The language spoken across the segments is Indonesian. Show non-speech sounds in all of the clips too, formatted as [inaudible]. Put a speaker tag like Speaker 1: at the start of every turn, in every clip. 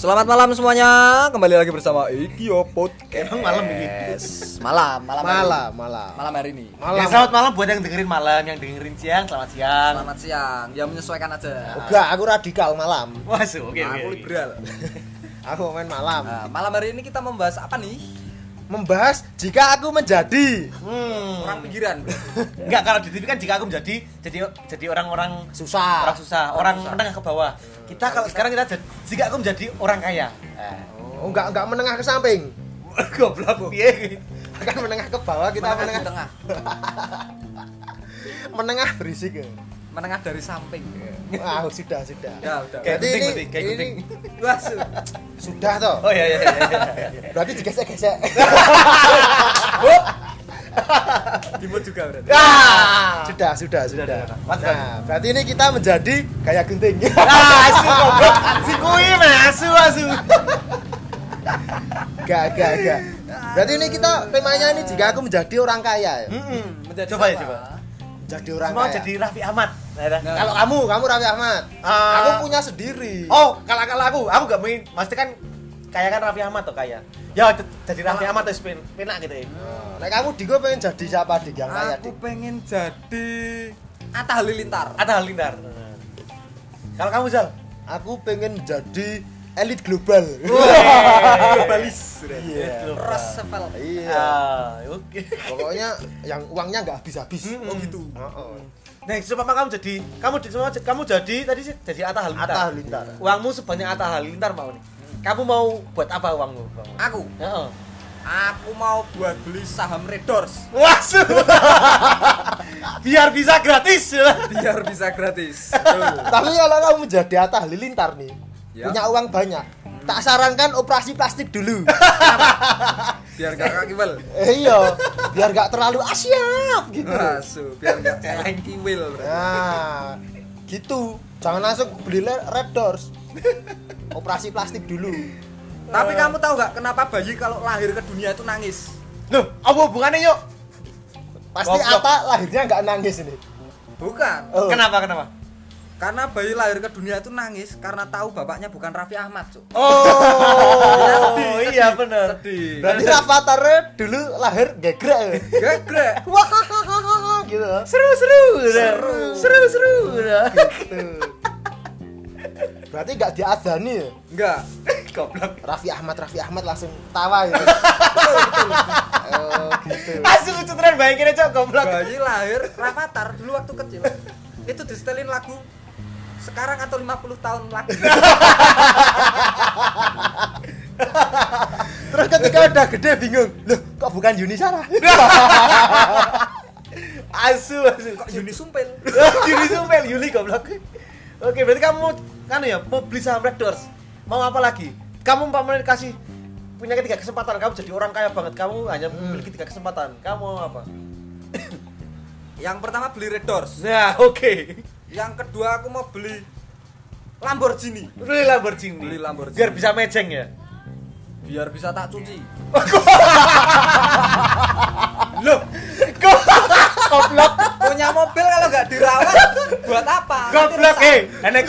Speaker 1: Selamat malam semuanya, kembali lagi bersama Ikio Podcast.
Speaker 2: Emang malam ini.
Speaker 1: Malam, malam, hari ini.
Speaker 3: malam malam
Speaker 1: malam hari ini.
Speaker 2: Ya, selamat malam buat yang dengerin malam, yang dengerin siang, selamat siang.
Speaker 1: Selamat siang, ya menyesuaikan aja.
Speaker 3: enggak aku radikal malam
Speaker 2: Masuk, oke. oke,
Speaker 1: Nah, Aku ya.
Speaker 2: oke.
Speaker 1: liberal.
Speaker 3: aku main malam
Speaker 2: Ah.
Speaker 1: Nah, malam hari ini kita membahas apa nih?
Speaker 3: membahas jika aku menjadi
Speaker 2: Hmm.
Speaker 1: Orang pinggiran.
Speaker 2: Enggak kalau di TV kan jika aku menjadi jadi jadi orang-orang
Speaker 3: susah Oh,
Speaker 2: orang susah, orang menengah ke bawah. Kita kalau sekarang kita jad- jika aku menjadi orang kaya. [laughs] Eh,
Speaker 3: oh, enggak enggak menengah ke samping
Speaker 2: Goblok piye?
Speaker 3: akan menengah ke bawah kita
Speaker 1: menengah
Speaker 3: menengah
Speaker 1: di tengah,
Speaker 3: menengah berisik
Speaker 1: menengah dari samping.
Speaker 3: ah sudah sudah
Speaker 1: Ya, udah.
Speaker 2: Kayak
Speaker 3: Berarti
Speaker 2: gunting,
Speaker 3: ini-
Speaker 2: berarti, kayak
Speaker 3: ini-
Speaker 2: gunting.
Speaker 1: Wah, su-
Speaker 3: sudah toh
Speaker 2: Oh iya iya iya. iya.
Speaker 3: berarti
Speaker 2: [laughs]
Speaker 3: digesek-gesek
Speaker 1: Dimut juga berarti.
Speaker 3: [laughs]
Speaker 2: Ya.
Speaker 3: Ah, sudah sudah
Speaker 2: Sudah,
Speaker 3: sudah
Speaker 2: sudah. Mantap.
Speaker 3: nah berarti ini kita menjadi kayak
Speaker 2: [laughs]
Speaker 3: genting
Speaker 2: Ah, asu goblok. Si kui masu asu.
Speaker 3: enggak enggak enggak berarti ini kita temanya ini jika aku menjadi orang kaya ya.
Speaker 2: Mm-mm.
Speaker 1: hmm, Menjadi
Speaker 2: Coba ya
Speaker 1: siapa?
Speaker 2: coba.
Speaker 3: menjadi orang
Speaker 2: Semua
Speaker 3: kaya
Speaker 2: jadi Raffi Ahmad. Nah, nah.
Speaker 1: Nah.
Speaker 3: kalau kamu kamu Raffi Ahmad
Speaker 2: Ah.
Speaker 3: aku punya sendiri
Speaker 2: Oh, kalau kalau aku, aku gak main. Maksudnya kan kaya kan Raffi Ahmad tuh kaya. Ya j- jadi Raffi Ahmad terus pin, pinak gitu ya.
Speaker 3: Nah, kamu di gue pengen jadi siapa dik yang kaya
Speaker 1: Aku
Speaker 3: dik?
Speaker 1: pengen jadi Atta Halilintar.
Speaker 2: Atta Halilintar. Kalau kamu Zal,
Speaker 3: Aku pengen jadi elit global. [laughs]
Speaker 1: Globalis.
Speaker 3: Iya.
Speaker 1: Roosevelt.
Speaker 3: Iya.
Speaker 2: Ah, oke.
Speaker 3: Pokoknya yang uangnya nggak habis-habis.
Speaker 2: Mm-mm.
Speaker 1: Oh gitu.
Speaker 3: Heeh.
Speaker 2: Nah, supaya kamu jadi, kamu di semua kamu jadi tadi sih jadi Atta Halilintar.
Speaker 3: Atta Halilintar.
Speaker 2: Uangmu sebanyak Atta Halilintar mau nih. Kamu mau buat apa uangmu? uangmu?
Speaker 1: Aku,
Speaker 2: Heeh.
Speaker 1: aku mau buat beli saham Redors
Speaker 2: Wah, su- [laughs] biar bisa gratis.
Speaker 1: biar bisa gratis. Betul.
Speaker 3: Tapi kalau kamu menjadi Atta Halilintar nih,
Speaker 1: Ya.
Speaker 3: punya uang banyak, tak sarankan operasi plastik
Speaker 2: [laughs]
Speaker 3: dulu.
Speaker 1: biar gak kakiwil
Speaker 3: eh, iya, biar nggak terlalu asyap gitu.
Speaker 2: Nah,
Speaker 1: masuk biar gak celeng kiwil berarti.
Speaker 3: Nah, gitu. Jangan langsung beli le- Red Doors. Operasi plastik dulu.
Speaker 1: tapi kamu tahu nggak kenapa bayi kalau lahir ke dunia itu nangis
Speaker 2: Loh, apa hubungannya yuk?
Speaker 3: Pasti
Speaker 2: Goblok.
Speaker 3: Atta lahirnya nggak nangis ini.
Speaker 1: bukan
Speaker 3: Oh.
Speaker 2: Kenapa kenapa?
Speaker 1: karena bayi lahir ke dunia itu nangis karena tahu bapaknya bukan Raffi Ahmad Cuk.
Speaker 2: Oh, iya benar.
Speaker 1: sedih
Speaker 3: Berarti
Speaker 2: Iya.
Speaker 3: Avatar dulu lahir gegrek. ya?
Speaker 1: gegrek
Speaker 3: Wah, hahaha, gitu.
Speaker 2: Seru seru. Seru seru seru.
Speaker 3: Gitu. Berarti nggak diadani ya?
Speaker 1: enggak
Speaker 2: Goblok.
Speaker 3: Raffi Ahmad, Raffi Ahmad langsung tawa ya. oh, gitu.
Speaker 2: Asli lucu tenan bayangin aja goblok.
Speaker 1: bayi lahir Rafathar dulu waktu kecil itu disetelin lagu sekarang atau 50 tahun lagi
Speaker 3: Terus ketika udah gede bingung, loh kok bukan Yuni Sarah?
Speaker 2: Asu asu. Oh,
Speaker 1: kok Yuni Sumpil
Speaker 2: Yuli sumpel Yuli goblok. Oke, berarti kamu kan ya mau beli saham Red Doors. Mau apa lagi? Kamu umpamanya kasih punya tiga kesempatan kamu jadi orang kaya banget kamu hanya
Speaker 1: Hmm.
Speaker 2: memiliki tiga kesempatan kamu mau apa
Speaker 1: yang pertama beli Red Doors
Speaker 2: nah oke
Speaker 1: yang kedua aku mau beli Lamborghini
Speaker 2: beli Lamborghini
Speaker 1: Beli Lamborghini.
Speaker 2: biar bisa mejeng ya
Speaker 1: biar bisa tak cuci
Speaker 2: loh goblok
Speaker 1: punya mobil kalau nggak dirawat buat apa?
Speaker 2: goblok
Speaker 1: Nanti rusak.
Speaker 2: eh enek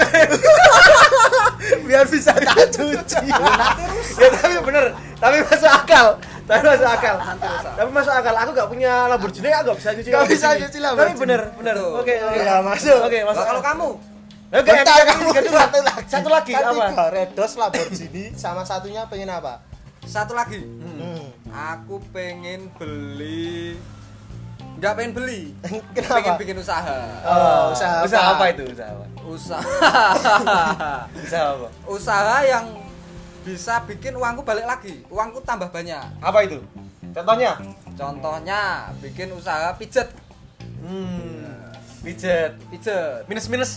Speaker 3: Biar bisa tak cuci.
Speaker 1: Nanti rusak.
Speaker 2: ya tapi bener tapi masuk akal tapi masuk akal
Speaker 1: Nanti rusak.
Speaker 2: tapi masuk akal aku gak punya Lamborghini aku gak bisa nyuci
Speaker 3: Gak bisa
Speaker 2: Lamborghini.
Speaker 3: nyuci Lamborghini.
Speaker 2: tapi bener bener
Speaker 1: Betul.
Speaker 2: oke oke
Speaker 3: Ya, masuk.
Speaker 2: oke masuk
Speaker 1: Nah, kalau kamu
Speaker 2: [laughs] oke
Speaker 3: Bentar,
Speaker 2: yang
Speaker 3: kamu
Speaker 2: ketiga,
Speaker 3: satu lagi.
Speaker 2: satu lagi
Speaker 3: Kan
Speaker 2: apa
Speaker 3: tiga, Red Doors, Lamborghini, sama satunya pengen apa?
Speaker 1: satu lagi,
Speaker 3: Hmm.
Speaker 1: aku pengen beli, nggak pengen
Speaker 2: [laughs]
Speaker 1: beli,
Speaker 3: Kenapa?
Speaker 1: pengen bikin usaha,
Speaker 3: Oh, usaha
Speaker 2: usaha
Speaker 3: apa?
Speaker 2: apa itu usaha apa [laughs]
Speaker 1: usaha,
Speaker 2: usaha apa
Speaker 1: usaha yang bisa bikin uangku balik lagi, uangku tambah banyak.
Speaker 2: apa itu contohnya
Speaker 1: Contohnya bikin usaha pijet,
Speaker 2: hmm pijet
Speaker 1: pijet,
Speaker 2: minus minus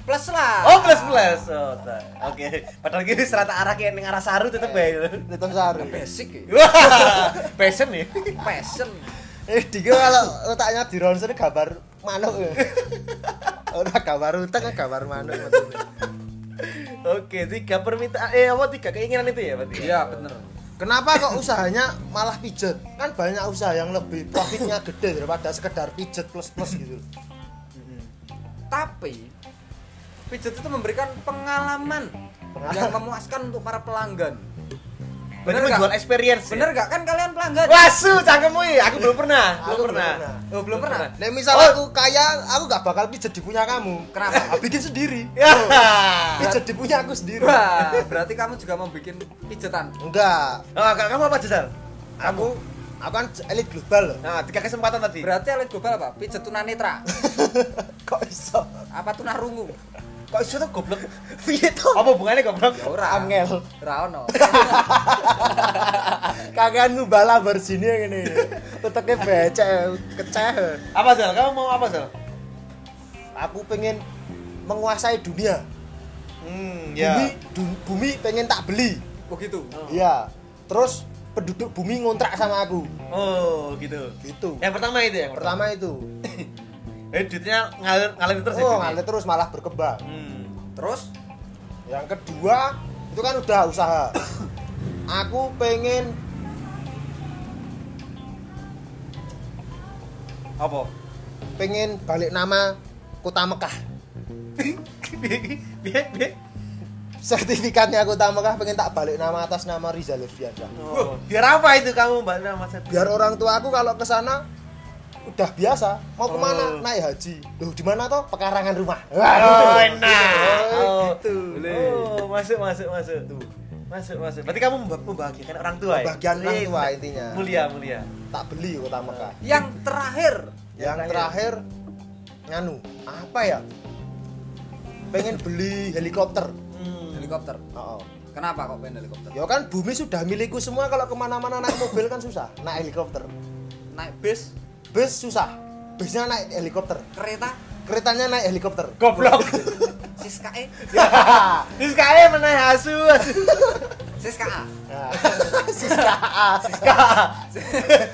Speaker 1: plus lah.
Speaker 2: oh plus plus oh, tak. oke padahal gini serata arah kayak yang arah saru tetep [laughs] ya
Speaker 3: Tetap sehari.
Speaker 1: Basic, ya.
Speaker 2: Wah, passion ya? nih
Speaker 1: passion.
Speaker 3: Eh, Dika kalau letaknya di ronsen gambar manuk ya. Ora gambar utek kan gambar manuk.
Speaker 2: Oke, tiga permintaan eh apa tiga keinginan itu ya berarti?
Speaker 1: Iya bener.
Speaker 3: Kenapa kok usahanya malah pijet? Kan banyak usaha yang lebih profitnya gede daripada sekedar pijet plus-plus gitu.
Speaker 1: tapi pijat itu memberikan pengalaman,
Speaker 2: Pengalaman.
Speaker 1: yang memuaskan untuk para pelanggan.
Speaker 2: Berarti
Speaker 1: Bener nggak?
Speaker 2: menjual experience.
Speaker 1: Bener
Speaker 2: ya?
Speaker 1: nggak kan kalian pelanggan?
Speaker 2: Wasu, cangkemmu ya. Aku belum pernah. belum
Speaker 3: Aku belum
Speaker 2: pernah.
Speaker 3: pernah.
Speaker 1: Oh, belum pernah.
Speaker 3: Nek misal
Speaker 2: Oh.
Speaker 3: aku kaya, aku gak bakal pijet di punya kamu.
Speaker 1: Kenapa?
Speaker 3: Bikin sendiri.
Speaker 2: Ya.
Speaker 3: Pijet di punya aku sendiri.
Speaker 1: Wah, berarti kamu juga mau bikin pijetan.
Speaker 3: Enggak.
Speaker 2: Nah, kamu apa Jadal?
Speaker 3: Aku aku kan elit global loh.
Speaker 2: Nah, tiga kesempatan tadi.
Speaker 1: Berarti elit global apa? Pijet tunanetra.
Speaker 3: Kok iso?
Speaker 1: Apa tunarungu?
Speaker 2: Kok iso tuh [laughs] goblok?
Speaker 3: Piye to?
Speaker 2: Apa hubungannya goblok?
Speaker 1: Ya ora.
Speaker 3: Angel.
Speaker 1: Ora
Speaker 2: [laughs]
Speaker 1: ono.
Speaker 3: Kakeanmu bala bar sini yang ini. Teteknya becek, keceh.
Speaker 2: Apa Jal? Kamu mau apa Jal?
Speaker 3: Aku pengen menguasai dunia.
Speaker 2: Hmm,
Speaker 3: Bumi, du- bumi pengen tak beli.
Speaker 1: Begitu.
Speaker 3: Iya. Terus penduduk bumi ngontrak sama aku.
Speaker 2: Oh, gitu.
Speaker 3: Gitu.
Speaker 2: Yang pertama itu ya, yang pertama.
Speaker 3: Pertama itu.
Speaker 2: Eh, duitnya ngalir ngalir terus ya.
Speaker 3: Oh,
Speaker 2: duitnya?
Speaker 3: ngalir terus malah berkembang.
Speaker 2: Hmm.
Speaker 1: Terus
Speaker 3: Yang kedua itu kan udah usaha. Aku pengen
Speaker 2: Apa?
Speaker 3: pengen balik nama kota Mekah.
Speaker 2: [laughs] Piye iki? Piye piye?
Speaker 3: Sertifikatnya kota Mekah pengen tak balik nama atas nama Rizal Febriansyah.
Speaker 2: Oh. Biar apa itu kamu Mbak Nama Mas
Speaker 3: Biar orang tua aku kalau ke sana udah biasa mau
Speaker 2: Oh.
Speaker 3: kemana naik haji loh di mana toh pekarangan rumah
Speaker 2: Oh, enak. Oh,
Speaker 3: gitu
Speaker 1: boleh.
Speaker 2: Oh, masuk masuk masuk. Tuh. Masuk masuk. Berarti kamu memba- membahagiakan orang tua ya?
Speaker 3: Membahagiakan orang
Speaker 2: Iya,
Speaker 3: tua
Speaker 2: benar.
Speaker 3: intinya.
Speaker 2: Mulia mulia.
Speaker 3: tak beli kota Mekah
Speaker 1: yang terakhir
Speaker 3: yang terakhir nganu apa ya pengen beli helikopter
Speaker 2: Hmm.
Speaker 1: helikopter.
Speaker 3: oh, oh.
Speaker 1: Kenapa kok pengen helikopter?
Speaker 3: Ya kan bumi sudah milikku semua kalau kemana-mana naik mobil kan susah Naik helikopter
Speaker 1: Naik bis,
Speaker 3: Bus susah Busnya naik helikopter
Speaker 1: kereta,
Speaker 3: Keretanya naik helikopter
Speaker 2: Goblok. [laughs] E
Speaker 1: siskae,
Speaker 2: Terus kaya meneh asu. asu.
Speaker 1: siska,
Speaker 3: Nah, [laughs]
Speaker 1: siska,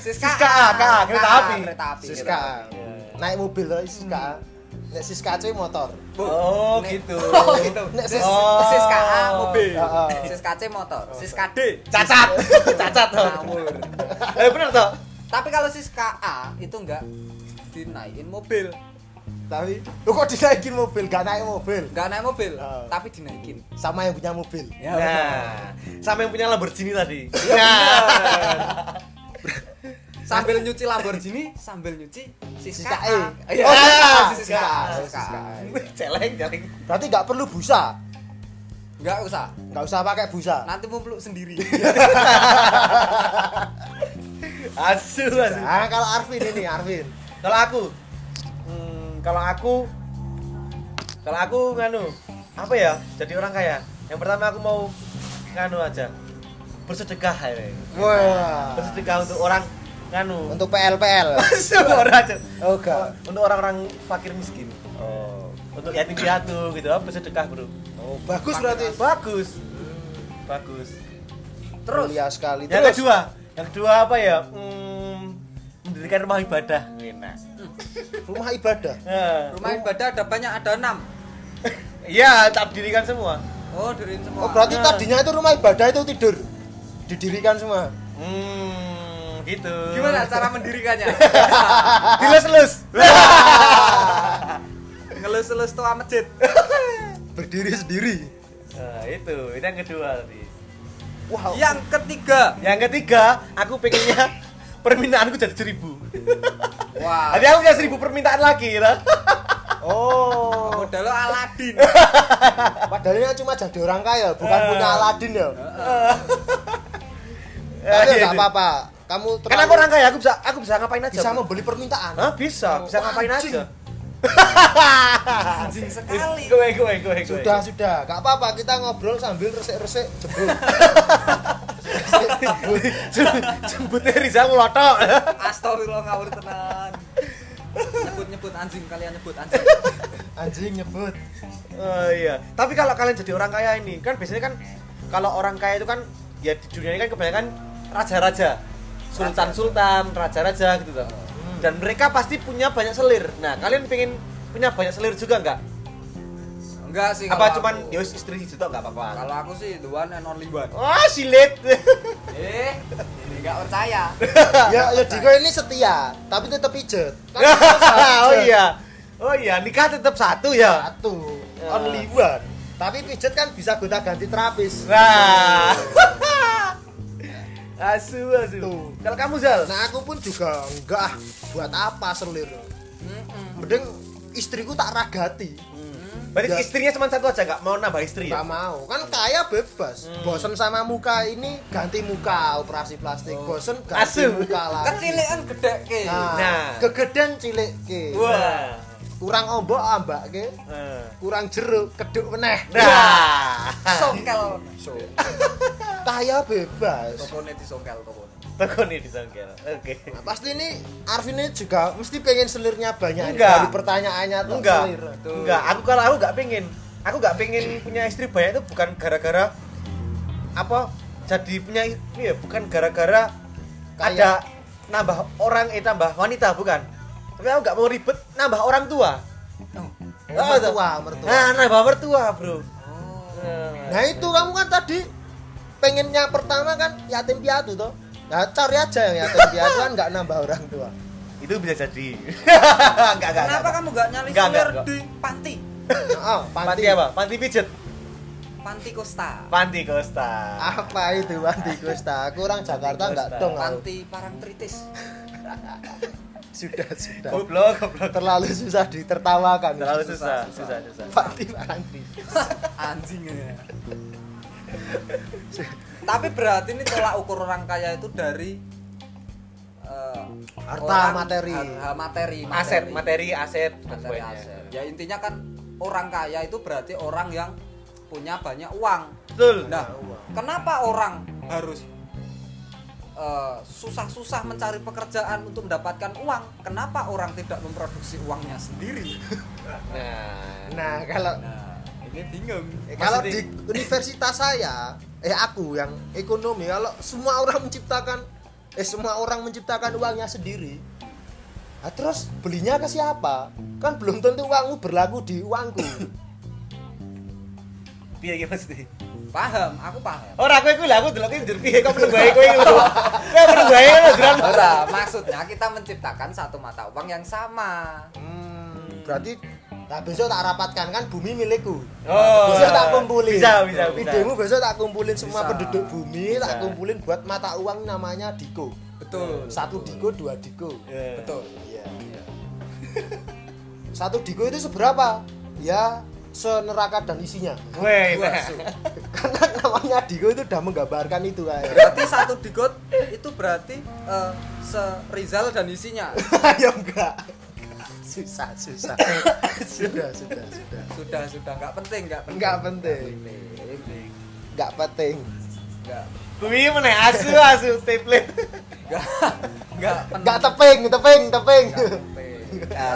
Speaker 2: Siska A, K A, kereta api.
Speaker 1: kereta api,
Speaker 3: Siska A.
Speaker 2: Iya.
Speaker 3: Naik mobil loh Siska A. Nek Siska C motor
Speaker 2: Oh,
Speaker 1: Nek-
Speaker 2: gitu.
Speaker 1: [laughs] Oh, gitu.
Speaker 3: Nek
Speaker 1: Sis,
Speaker 2: Oh.
Speaker 1: siska A mobil,
Speaker 3: Heeh.
Speaker 1: siska C motor, siska D
Speaker 2: Cacat.
Speaker 1: [laughs]
Speaker 2: Cacat toh.
Speaker 1: ngawur.
Speaker 2: Eh bener toh.
Speaker 1: Tapi kalau siska A itu enggak dinaikin mobil,
Speaker 3: Tapi Loh kok dinaikin mobil? Gak naik mobil
Speaker 1: enggak naik mobil,
Speaker 3: Oh.
Speaker 1: tapi dinaikin.
Speaker 3: Sama yang punya mobil
Speaker 1: Ya,
Speaker 2: Nah, sama yang punya Lamborghini tadi.
Speaker 1: sambil nyuci Lamborghini, sambil nyuci siska,
Speaker 3: Siska
Speaker 1: A.
Speaker 3: E.
Speaker 1: Iya,
Speaker 2: Oh,
Speaker 1: siska, A,
Speaker 3: Siska A,
Speaker 1: siska
Speaker 3: Siska
Speaker 1: A.
Speaker 3: A.
Speaker 2: Nah. [laughs] Celeng, celeng.
Speaker 3: Berarti gak perlu busa
Speaker 1: Enggak usah.
Speaker 3: Gak usah pakai busa
Speaker 1: Nanti mumpul sendiri.
Speaker 2: Asu, asu.
Speaker 3: Nah kalau Arvin ini Arvin
Speaker 2: Kalau aku, hmm, kalau aku, kalau aku nganu, apa ya? Jadi orang kaya. Yang pertama aku mau nganu aja, bersedekah ya. weh.
Speaker 3: Wah
Speaker 2: Bersedekah untuk orang nganu.
Speaker 3: Ah, Untuk PL-PL
Speaker 2: Asu, orang aja.
Speaker 3: Oh gak
Speaker 2: Untuk orang-orang fakir miskin.
Speaker 3: Oh
Speaker 2: Untuk yatim piatu gitu, apa bersedekah bro.
Speaker 3: Oh, bagus berarti.
Speaker 2: Bagus, bagus.
Speaker 1: Terus
Speaker 3: Mulia sekali.
Speaker 2: Yang
Speaker 3: Terus
Speaker 2: kedua, yang kedua apa ya? Hmm, mendirikan rumah ibadah. Enak.
Speaker 3: rumah ibadah.
Speaker 2: Nah,
Speaker 1: rumah ibadah ada banyak ada enam.
Speaker 2: Iya, tak dirikan semua.
Speaker 1: Oh, diriin semua.
Speaker 3: Oh, berarti
Speaker 2: Ah.
Speaker 3: tadinya itu rumah ibadah itu tidur. Didirikan semua.
Speaker 2: Hmm, gitu.
Speaker 1: Gimana cara mendirikannya?
Speaker 3: [laughs]
Speaker 2: Dilus-lus.
Speaker 1: Ngelus-elus tua masjid.
Speaker 3: Berdiri sendiri.
Speaker 2: Nah, itu, itu yang kedua tadi.
Speaker 3: Wow.
Speaker 1: Yang ketiga.
Speaker 2: Yang ketiga, aku pengennya [laughs] permintaanku jadi seribu.
Speaker 1: Wah.
Speaker 3: Ah.
Speaker 2: Nanti aku punya seribu permintaan lagi, gitu. lah.
Speaker 3: Oh,
Speaker 1: Modal lo
Speaker 2: [laughs]
Speaker 1: Aladin.
Speaker 3: padahal ini cuma jadi orang kaya, bukan
Speaker 2: Ah.
Speaker 3: punya Aladin ya. Tapi
Speaker 2: [laughs] Iya,
Speaker 3: enggak
Speaker 2: itu.
Speaker 3: apa-apa. Kamu
Speaker 2: Karena aku orang kaya, aku bisa aku bisa ngapain aja.
Speaker 3: bisa
Speaker 2: Bro.
Speaker 3: membeli permintaan.
Speaker 2: Hah, bisa, bisa ngapain
Speaker 3: anjing.
Speaker 2: aja.
Speaker 1: Anjing sekali.
Speaker 2: Gue, gue, gue, gue. [laughs]
Speaker 3: Sudah, sudah. Enggak apa-apa, kita ngobrol sambil resik-resik jebul.
Speaker 2: Jembutnya Rizal ngelotok. [laughs]
Speaker 1: Astagfirullah ngawur tenan. Nyebut-nyebut anjing kalian nyebut anjing.
Speaker 3: Anjing
Speaker 2: [laughs]
Speaker 3: nyebut.
Speaker 2: Oh iya. Tapi kalau kalian jadi orang kaya ini kan biasanya kan kalau orang kaya itu kan ya di dunia ini kan kebanyakan raja-raja, sultan-sultan, raja-raja gitu loh.
Speaker 3: Hmm.
Speaker 2: Dan mereka pasti punya banyak selir. Nah, kalian pengen punya banyak selir juga nggak?
Speaker 1: Enggak
Speaker 3: Iya,
Speaker 1: sih.
Speaker 2: Apa
Speaker 1: kalau
Speaker 2: cuman
Speaker 1: aku.
Speaker 2: ya wis, istri itu nggak apa-apa? Oh,
Speaker 1: Kalau aku sih the one and only one.
Speaker 2: Wah, silet.
Speaker 1: Eh, ini enggak [laughs] percaya.
Speaker 2: [laughs]
Speaker 3: ya, ya Diko ini setia, tapi Kan tetap pijet. Kan
Speaker 2: oh iya. Oh iya, nikah tetap satu ya.
Speaker 3: Satu.
Speaker 2: Ya.
Speaker 3: Only one. Tapi pijet kan bisa gonta ganti terapis. [laughs]
Speaker 2: Nah. asu asu.
Speaker 3: Tuh.
Speaker 2: Kalau kamu Zal,
Speaker 3: Nah aku pun juga enggak ah, buat apa selir.
Speaker 1: Mm-mm.
Speaker 3: Mending istriku tak ragati.
Speaker 2: berarti
Speaker 3: Ya.
Speaker 2: istrinya cuma satu aja nggak mau nambah istri
Speaker 3: Gak
Speaker 2: ya?
Speaker 3: mau, kan kaya bebas.
Speaker 2: Hmm.
Speaker 3: Bosen sama muka ini ganti muka operasi plastik. Bosen ganti
Speaker 2: Oh. Asu.
Speaker 3: muka lagi.
Speaker 1: Kecilian gede ke.
Speaker 3: Nah,
Speaker 2: Nah.
Speaker 3: gegeden cilik ke.
Speaker 2: Wah.
Speaker 3: Kurang ombok ambak ke.
Speaker 2: Eh.
Speaker 3: Kurang jeruk keduk meneh.
Speaker 2: Nah.
Speaker 1: Songkel.
Speaker 3: So. kaya bebas.
Speaker 1: Kokone disongkel kokone.
Speaker 2: Toko nih disangkal. Oke.
Speaker 3: Nah, pasti ini Arvin ini juga mesti pengen selirnya banyak. nih.
Speaker 2: Enggak.
Speaker 3: Dari pertanyaannya tuh
Speaker 2: Enggak.
Speaker 3: selir.
Speaker 1: Tuh.
Speaker 2: Enggak, aku kalau aku nggak pengen. Aku nggak pengen punya istri banyak itu bukan gara-gara apa? Jadi punya ini ya bukan gara-gara
Speaker 3: Kaya.
Speaker 2: ada nambah orang eh tambah wanita bukan. Tapi aku nggak mau ribet nambah orang tua.
Speaker 3: Oh,
Speaker 2: Oh, tuh.
Speaker 3: mertua, mertua.
Speaker 2: Nah, nambah mertua, Bro.
Speaker 3: Nah itu kamu kan tadi pengennya pertama kan yatim piatu toh. Nah cari aja yang yatim piatu kan nggak nambah orang
Speaker 2: [laughs]
Speaker 3: tua.
Speaker 2: itu bisa jadi. [laughs] enggak, enggak.
Speaker 1: Kenapa
Speaker 2: enggak.
Speaker 1: kamu gak nyali
Speaker 2: Enggak,
Speaker 1: selir
Speaker 2: enggak,
Speaker 1: di panti?
Speaker 3: Nah, oh,
Speaker 2: Panti
Speaker 3: panti, apa?
Speaker 2: apa? Panti pijet.
Speaker 1: Panti Kosta.
Speaker 2: Panti Costa.
Speaker 3: itu panti Gusta? Kurang Jakarta nggak
Speaker 2: Gusta.
Speaker 3: dong aku.
Speaker 1: Panti Parangtritis.
Speaker 3: Sudah sudah.
Speaker 2: Goblok, goblok.
Speaker 3: Terlalu susah ditertawakan.
Speaker 2: Oh. Terlalu susah, susah, susah.
Speaker 3: Panti panti.
Speaker 1: [laughs] Anjing ya. Tapi berarti ini tolak ukur orang kaya itu dari eh,
Speaker 3: Harta, materi.
Speaker 1: harta materi,
Speaker 2: Aset, materi, aset, dan
Speaker 1: Materi
Speaker 2: sebagainya.
Speaker 1: aset. Ya intinya kan orang kaya itu berarti orang yang punya banyak uang.
Speaker 2: Betul.
Speaker 1: Nah, kenapa orang harus eh, susah-susah mencari pekerjaan untuk mendapatkan uang? Kenapa orang tidak memproduksi uangnya sendiri?
Speaker 2: Nah, Eh,
Speaker 3: Nah kalau
Speaker 1: Nah, ini bingung.
Speaker 3: kalau
Speaker 2: Maksudnya-
Speaker 3: di universitas saya eh aku yang ekonomi kalau semua orang menciptakan eh semua orang menciptakan uangnya sendiri nah, terus belinya ke siapa kan belum tentu uangmu berlaku di uangku
Speaker 2: [coughs] piye iki mesti?
Speaker 1: Paham, aku paham.
Speaker 2: Ora kowe kuwi lho aku deloki njur piye kok menunggu ae kowe iki lho. Kowe menunggu ae lho Dran.
Speaker 1: Ora, maksudnya kita menciptakan satu mata uang yang sama.
Speaker 3: berarti nah besok tak rapatkan kan bumi milikku
Speaker 2: [laughs] Oh.
Speaker 3: besok tak kumpulin
Speaker 2: Bisa, bisa, bisa.
Speaker 3: idemu besok tak kumpulin semua
Speaker 1: Bisa.
Speaker 3: penduduk bumi tak
Speaker 2: Bisa.
Speaker 3: kumpulin buat mata uang namanya diko
Speaker 1: Betul.
Speaker 3: satu diko dua diko
Speaker 2: Eh,
Speaker 1: Betul.
Speaker 3: Iya. [laughs] Satu diko itu seberapa? Ya seneraka dan isinya. [laughs]
Speaker 2: Weh.
Speaker 1: Dua
Speaker 2: nah.
Speaker 1: su.
Speaker 3: Karena namanya diko itu udah menggambarkan itu kayak.
Speaker 1: Berarti satu digot itu berarti eh, se Rizal dan isinya.
Speaker 3: [laughs] ya enggak. Susah, susah. [coughs] sudah, sudah, sudah.
Speaker 1: Sudah, sudah nggak penting, nggak penting.
Speaker 3: Enggak penting. Enggak penting.
Speaker 1: Enggak.
Speaker 2: Kuwi meneh asu asu template.
Speaker 1: Enggak. Enggak
Speaker 3: Enggak teping, teping, teping.
Speaker 1: penting.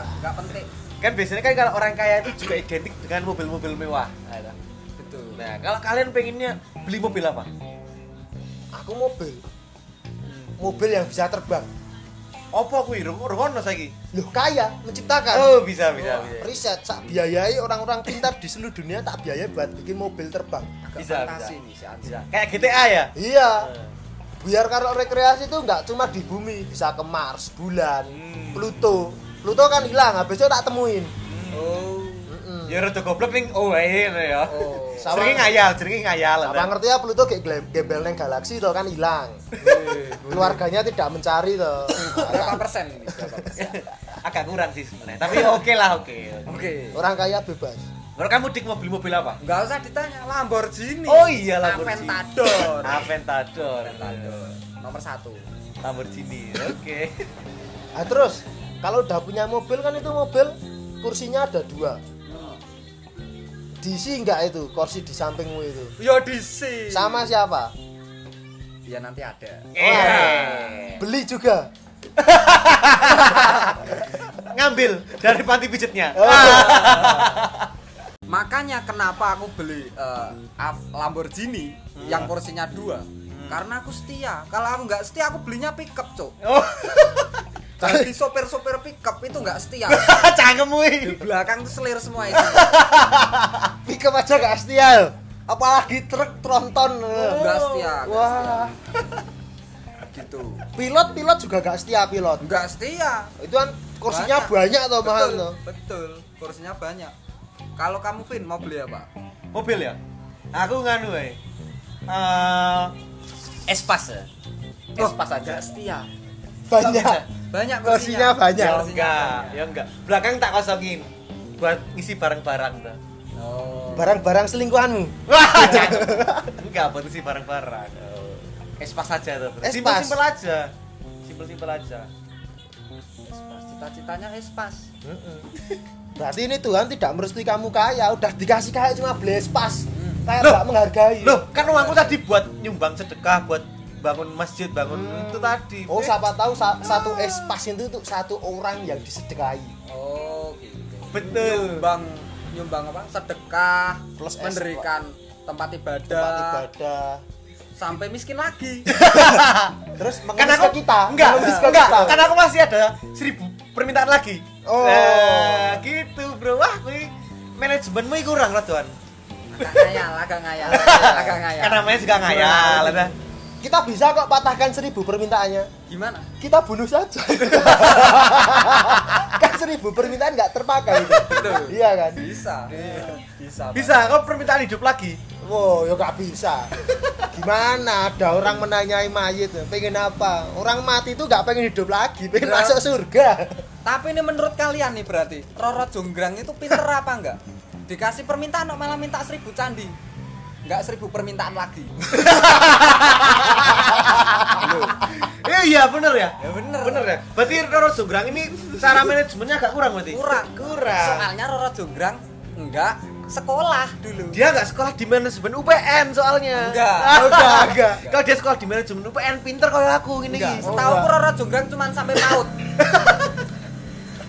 Speaker 1: Enggak penting.
Speaker 2: Nah. Kan biasanya kan kalau orang kaya itu juga identik dengan mobil-mobil mewah.
Speaker 1: Betul.
Speaker 2: Nah, kalau kalian pengennya beli mobil apa?
Speaker 3: Aku mobil. Mobil yang bisa terbang.
Speaker 2: Apa kuwi? Rung- Rungono saiki.
Speaker 3: Loh, kaya menciptakan.
Speaker 2: Oh, bisa bisa bisa.
Speaker 3: riset sak biayai orang-orang pintar di seluruh dunia tak biayai buat bikin mobil terbang
Speaker 1: Agak
Speaker 2: Bisa,
Speaker 1: fantasi
Speaker 2: bisa.
Speaker 1: nih si Ansi.
Speaker 2: Bisa. Kayak GTA ya?
Speaker 3: iya
Speaker 2: Eh.
Speaker 3: biar kalau rekreasi itu nggak cuma di bumi bisa ke Mars bulan
Speaker 2: Hmm.
Speaker 3: Pluto Pluto kan hilang habis itu tak temuin
Speaker 1: Oh.
Speaker 3: Mm-mm.
Speaker 2: Ya rada goblok ning oh ae ya.
Speaker 1: Oh.
Speaker 3: Sama-
Speaker 2: Sering ngayal, sering ngayal.
Speaker 3: apa ngerti ya Pluto kayak gele- gembel neng galaksi itu kan hilang keluarganya tidak mencari
Speaker 2: [coughs]
Speaker 3: tuh
Speaker 1: Berapa persen ini? Berapa persen?
Speaker 2: [laughs] agak kurang sih sebenarnya tapi ya oke lah oke
Speaker 1: Oke.
Speaker 3: orang kaya bebas
Speaker 2: kalau kamu dik mau beli mobil apa
Speaker 1: Enggak usah ditanya Lamborghini.
Speaker 2: oh iya Lamborghini
Speaker 1: Aventador.
Speaker 2: Aventador
Speaker 1: Aventador. Nomor satu.
Speaker 2: Lamborghini oke
Speaker 3: nah, terus kalau udah punya mobil kan itu mobil kursinya ada dua diisi nggak itu kursi di sampingmu itu
Speaker 1: Yo DC.
Speaker 3: sama siapa
Speaker 1: Ya nanti ada.
Speaker 2: Eh,
Speaker 3: beli juga
Speaker 2: ngambil dari panti pijetnya
Speaker 1: Makanya kenapa aku beli eh, Av- Lamborghini
Speaker 3: Hmm.
Speaker 1: yang kursinya dua? Karena aku setia. Kalau aku nggak setia, aku belinya pickup,
Speaker 3: [laughs]
Speaker 1: cok.
Speaker 2: oh [laughs]
Speaker 1: Jadi sopir-sopir pickup itu nggak setia.
Speaker 2: cangkem
Speaker 1: Di
Speaker 2: wih
Speaker 1: belakang tuh selir semua
Speaker 3: [laughs]
Speaker 1: itu.
Speaker 3: Pickup aja gak setia Apalagi truk tronton
Speaker 1: Nggak setia. nggak
Speaker 3: Oh, Wah
Speaker 1: setia. Gitu.
Speaker 3: Pilot-pilot juga gak setia pilot
Speaker 1: Nggak setia.
Speaker 3: Itu kan kursinya banyak toh mahal
Speaker 1: betul,
Speaker 3: toh
Speaker 1: betul kursinya banyak kalau kamu Vin mau beli apa
Speaker 2: mobil ya aku nganu eh Eh,
Speaker 4: Espas ya?
Speaker 1: Oh.
Speaker 4: Espas aja.
Speaker 1: gak setia
Speaker 3: banyak
Speaker 1: banyak
Speaker 3: Kursinya banyak.
Speaker 1: Kursinya
Speaker 2: ya enggak
Speaker 1: banyak.
Speaker 2: ya enggak belakang tak kosongin buat ngisi barang-barang tuh
Speaker 1: oh.
Speaker 3: barang-barang selingkuhanmu
Speaker 2: wah enggak buat ngisi barang-barang espas aja tuh
Speaker 3: Espas.
Speaker 2: simpel simpel aja simpel simpel aja
Speaker 1: Espas. cita-citanya espas
Speaker 3: berarti ini Tuhan tidak merestui kamu kaya udah dikasih kaya cuma beli pas kayak
Speaker 2: Loh.
Speaker 3: nggak menghargai
Speaker 2: loh kan uangku tadi buat nyumbang sedekah buat bangun masjid bangun itu tadi
Speaker 3: oh
Speaker 2: Eh,
Speaker 3: siapa tahu sa- satu espas itu untuk satu orang yang disedekahi
Speaker 1: oh gitu
Speaker 2: betul
Speaker 1: nyumbang nyumbang apa sedekah
Speaker 3: Plus es,
Speaker 1: mendirikan tempat ibadah,
Speaker 3: tempat ibadah
Speaker 1: sampai miskin [laughs] lagi
Speaker 3: terus
Speaker 2: kan
Speaker 3: mengemis
Speaker 2: aku
Speaker 3: ke kita
Speaker 2: enggak
Speaker 3: mengemis ke
Speaker 2: enggak
Speaker 3: kita.
Speaker 2: kan aku masih ada seribu permintaan lagi
Speaker 3: Oh.
Speaker 2: Nah, gitu bro wah kui manajemenmu iku kurang lah tuan
Speaker 1: agak ngayal agak ngayal agak ngayal
Speaker 2: kan namanya juga ngayal ya. ada
Speaker 3: kita bisa kok patahkan seribu permintaannya
Speaker 1: gimana
Speaker 3: kita bunuh saja kan seribu permintaan nggak terpakai itu
Speaker 1: Betul.
Speaker 3: iya kan
Speaker 1: bisa bisa
Speaker 2: bisa kau permintaan hidup lagi
Speaker 3: wow ya nggak bisa gimana ada orang menanyai mayit pengen apa orang mati itu nggak pengen hidup lagi pengen
Speaker 1: Ya.
Speaker 3: masuk surga
Speaker 1: tapi ini menurut kalian nih berarti Roro Jonggrang itu pinter apa enggak dikasih permintaan kok malah minta seribu candi enggak seribu permintaan lagi
Speaker 2: Eh, iya bener ya
Speaker 1: ya bener
Speaker 2: bener ya berarti Roro Jonggrang ini cara manajemennya agak kurang berarti
Speaker 1: kurang
Speaker 2: kurang
Speaker 1: soalnya Roro Jonggrang enggak sekolah dulu
Speaker 2: dia nggak sekolah di manajemen UPN soalnya [laughs] Oh,
Speaker 1: Enggak.
Speaker 2: enggak enggak kalau dia sekolah di manajemen UPN pinter kayak aku gini
Speaker 1: enggak
Speaker 2: gini.
Speaker 1: setahu Roro Jonggrang cuma sampai
Speaker 2: [laughs]
Speaker 1: PAUD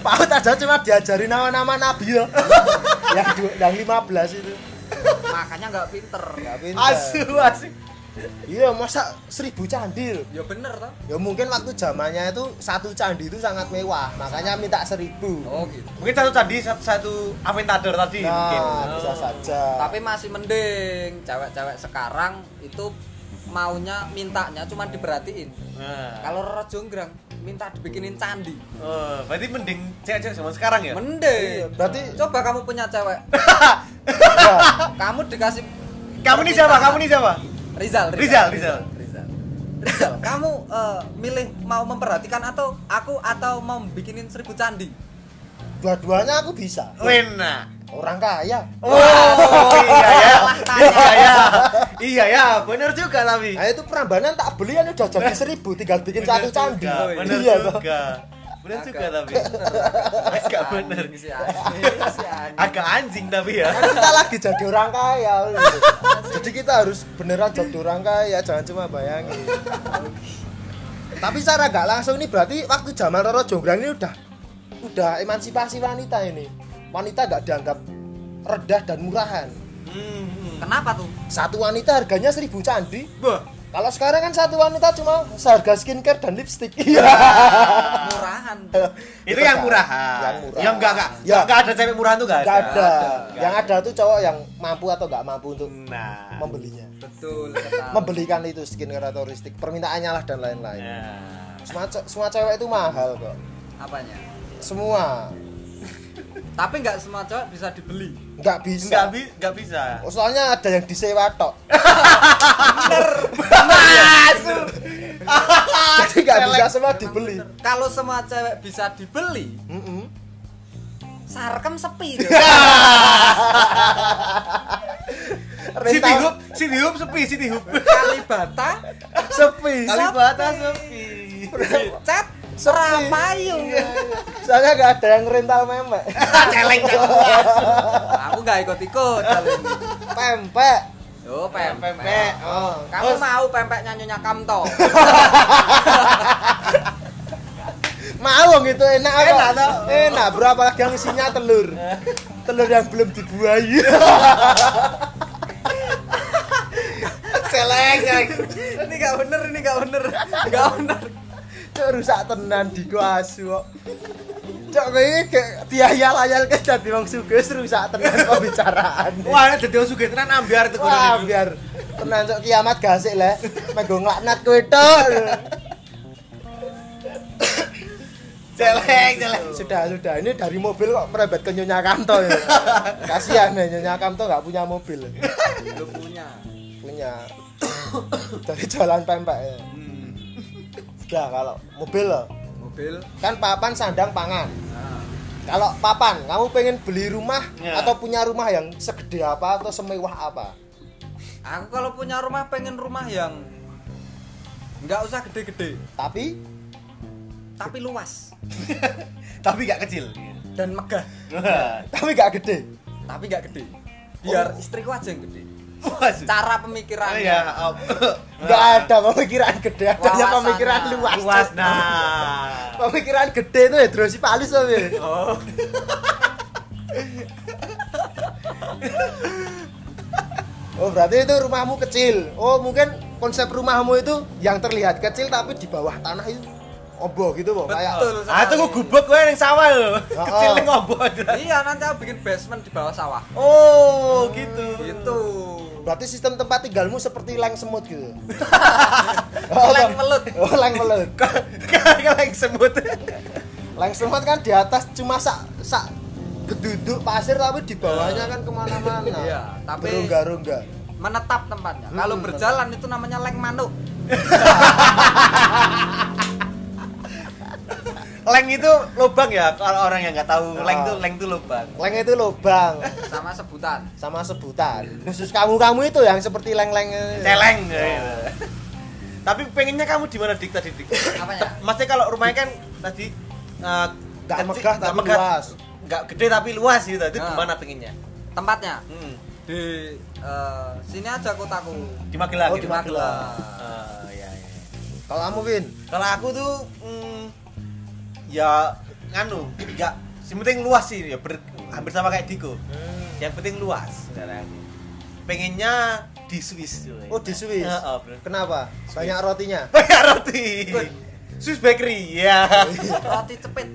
Speaker 3: paut aja cuma diajari nama-nama nabi loh yang du- yang 15 itu
Speaker 1: makanya enggak pinter
Speaker 3: nggak pintar
Speaker 2: asu asu
Speaker 3: iya masa seribu candi loh
Speaker 1: ya bener toh
Speaker 3: ya mungkin waktu zamannya itu satu candi itu sangat mewah makanya minta seribu
Speaker 1: oh gitu
Speaker 2: mungkin satu tadi satu, satu Aventador tadi iya, mungkin Oh.
Speaker 3: Nah, bisa saja.
Speaker 1: tapi masih mending cewek-cewek sekarang itu maunya mintanya cuma diperhatiin
Speaker 2: nah.
Speaker 1: kalau Roro Jonggrang minta dibikinin candi
Speaker 2: Oh, berarti mending cewek-cewek zaman sekarang ya
Speaker 3: Iya,
Speaker 1: mending
Speaker 3: berarti
Speaker 1: coba kamu punya cewek
Speaker 2: [laughs]
Speaker 3: ya,
Speaker 1: kamu dikasih
Speaker 2: kamu nih siapa kamu nih siapa
Speaker 1: Rizal
Speaker 2: Rizal, Rizal.
Speaker 1: Rizal Rizal, [laughs] kamu eh, milih mau memperhatikan atau aku atau mau bikinin seribu candi
Speaker 3: dua-duanya aku bisa.
Speaker 2: Wena
Speaker 3: Orang kaya.
Speaker 2: oh iya
Speaker 1: [laughs]
Speaker 2: ya
Speaker 1: Salah
Speaker 2: [laughs] iya
Speaker 1: tanya
Speaker 2: ya iya ya bener juga tapi
Speaker 3: Nah itu perambanan tak beli kan udah jadi seribu, tinggal bikin
Speaker 2: Bener
Speaker 3: satu candi.
Speaker 2: juga, bener
Speaker 3: Iya toh.
Speaker 2: juga bener
Speaker 1: Agak
Speaker 2: juga tapi agak
Speaker 1: Agak
Speaker 2: bener
Speaker 1: Si anjing, si
Speaker 2: [laughs]
Speaker 1: anjing.
Speaker 2: agak anjing tapi ya
Speaker 3: Kan kita lagi jadi orang kaya. gitu. jadi kita harus beneran jadi orang kaya, jangan cuma bayangin. Tapi secara nggak langsung ini berarti waktu zaman Roro Jonggrang ini udah udah emansipasi wanita ini. Wanita nggak dianggap redah dan murahan.
Speaker 2: Hmm, hmm.
Speaker 1: Kenapa tuh?
Speaker 3: Satu wanita harganya seribu candi.
Speaker 2: Wah,
Speaker 3: Kalau sekarang kan satu wanita cuma seharga skincare dan lipstick. [laughs] Iya.
Speaker 1: Murahan.
Speaker 2: itu yang
Speaker 3: kan?
Speaker 2: murahan.
Speaker 3: Yang murah.
Speaker 2: Ya enggak enggak.
Speaker 3: Ya.
Speaker 2: Enggak ada cewek murahan tuh enggak
Speaker 3: Gak
Speaker 2: ada.
Speaker 3: ada. Yang ada Hmm. tuh cowok yang mampu atau nggak mampu untuk
Speaker 2: Nah.
Speaker 3: membelinya.
Speaker 1: Betul
Speaker 3: Ah.
Speaker 1: kata.
Speaker 3: Membelikan itu skincare atau lipstick, permintaannya lah dan lain-lain.
Speaker 2: Nah.
Speaker 3: Semua, ce- semua cewek itu mahal kok.
Speaker 1: Apanya?
Speaker 3: Semua.
Speaker 1: Tapi nggak semua cewek bisa dibeli.
Speaker 2: Enggak
Speaker 3: Nggak bisa.
Speaker 2: bi enggak bisa.
Speaker 3: Oh, Soalnya ada yang disewa
Speaker 2: [laughs]
Speaker 3: tok. Jadi nggak bisa semua dibeli.
Speaker 1: [laughs] Kalau semua cewek bisa dibeli,
Speaker 3: Mm-mm.
Speaker 1: sarkem sepi.
Speaker 2: [laughs]
Speaker 1: tuh.
Speaker 2: City
Speaker 3: Rental
Speaker 2: Hub, City Hub sepi, City Hub.
Speaker 1: Kalibata,
Speaker 3: [laughs] sepi.
Speaker 2: Kalibata sepi.
Speaker 1: Cat,
Speaker 2: Iya.
Speaker 1: Surapayu.
Speaker 3: Soalnya nggak ada yang rental memek.
Speaker 2: Celeng celeng.
Speaker 1: Aku nggak ikut-ikut. kali ini.
Speaker 3: Pempek.
Speaker 1: Yo, pempek.
Speaker 2: Pempek.
Speaker 3: Oh.
Speaker 1: Kamu mau pempek nyanyonya Kamto?
Speaker 3: Mau wong itu enak apa?
Speaker 2: Enak toh?
Speaker 3: Enak bro apalagi yang isinya telur. telur yang belum dibuahi. [laughs]
Speaker 2: Celeng celeng.
Speaker 1: ini nggak bener, ini nggak bener, nggak bener.
Speaker 3: Cok rusak tenan di gua asu kok. Cok kowe iki gak diayal-ayal ke dadi wong sugih wis rusak tenan pembicaraan.
Speaker 2: Wah, ini jadi sugih tenan ambiar itu kudu
Speaker 3: Wah,
Speaker 2: niku.
Speaker 3: biar tenan cok kiamat gasik le. Menggo nglaknat kowe tok.
Speaker 2: Celeng, celeng. [laughs]
Speaker 3: sudah sudah ini dari mobil kok merembet ke Nyonya Kanto ya. kasihan ya Nyonya Kanto nggak punya mobil
Speaker 1: Lu punya.
Speaker 3: punya dari jalan pempek ya. sudah kalau mobil loh
Speaker 1: Mobil.
Speaker 3: kan papan sandang pangan
Speaker 1: Nah,
Speaker 3: kalau papan kamu pengen beli rumah
Speaker 2: Ya.
Speaker 3: atau punya rumah yang segede apa atau semewah apa
Speaker 1: aku kalau punya rumah pengen rumah yang nggak usah gede-gede,
Speaker 3: tapi
Speaker 1: tapi luas
Speaker 2: Tapi gak kecil.
Speaker 1: dan megah,
Speaker 2: Wah,
Speaker 3: tapi nggak gede
Speaker 1: tapi nggak gede. Biar istriku aja yang gede.
Speaker 2: waduh.
Speaker 1: Cara pemikirannya.
Speaker 2: Ya, om.
Speaker 3: nggak ada pemikiran gede adanya
Speaker 1: Wawasan,
Speaker 3: pemikiran
Speaker 1: nah.
Speaker 3: luas
Speaker 2: Luas
Speaker 3: Cok.
Speaker 2: nah.
Speaker 3: pemikiran gede itu ya terus palus tapi
Speaker 1: Oh.
Speaker 3: oh berarti itu rumahmu kecil oh mungkin konsep rumahmu itu yang terlihat kecil tapi di bawah tanah itu oboh gitu kok kayak
Speaker 1: Betul.
Speaker 2: Ah, itu gua gubuk kowe ning sawah lho.
Speaker 3: Oh,
Speaker 2: Kecil
Speaker 3: oh.
Speaker 2: ning obon.
Speaker 1: Iya, nanti aku bikin basement di bawah sawah.
Speaker 2: Oh, gitu.
Speaker 1: Gitu.
Speaker 3: berarti sistem tempat tinggalmu seperti leng semut
Speaker 1: [laughs]
Speaker 3: gitu
Speaker 1: Leng melut.
Speaker 3: [laughs] oh leng melut
Speaker 2: Kaleng semut.
Speaker 3: leng semut kan di atas cuma sak sak geduduk pasir tapi di bawahnya kan kemana-mana
Speaker 1: Iya, tapi-
Speaker 3: rongga-rongga
Speaker 1: Menetap tempatnya. Kalau
Speaker 3: Hmm,
Speaker 1: berjalan itu namanya leng manuk.
Speaker 2: Leng itu lubang ya kalau orang yang nggak tahu. Leng itu leng itu lubang.
Speaker 3: leng itu lobang
Speaker 1: sama sebutan.
Speaker 3: sama sebutan khusus kamu kamu itu yang seperti leng leng
Speaker 2: Celeng. ya.
Speaker 3: Iya.
Speaker 2: Tapi pengennya kamu di mana dik tadi dik?
Speaker 1: Apanya?
Speaker 2: Maksudnya kalau rumahnya kan tadi eh,
Speaker 3: Nggak
Speaker 2: kecil-
Speaker 3: megah,
Speaker 2: nggak
Speaker 3: tapi luas.
Speaker 2: Nggak gede tapi luas gitu. Itu
Speaker 1: Nah.
Speaker 2: gimana pengennya?
Speaker 1: Tempatnya
Speaker 2: Hmm.
Speaker 1: di eh, sini aja kotaku.
Speaker 2: Di Magelang.
Speaker 3: Oh,
Speaker 2: gitu.
Speaker 3: di Magelang.
Speaker 2: Eh, iya, iya.
Speaker 3: kalau kamu Win
Speaker 2: Kalau aku tuh mm, ya nganu, nggak yang penting luas sih ya ber- hampir sama kayak Diko. Yang penting luas. sebenarnya aku. Pengennya di Swiss tuh.
Speaker 3: oh di Swiss
Speaker 2: Heeh, [laughs] bro.
Speaker 3: kenapa banyak rotinya
Speaker 2: Banyak roti. Swiss bakery. Ya. [laughs]
Speaker 1: Roti cepit.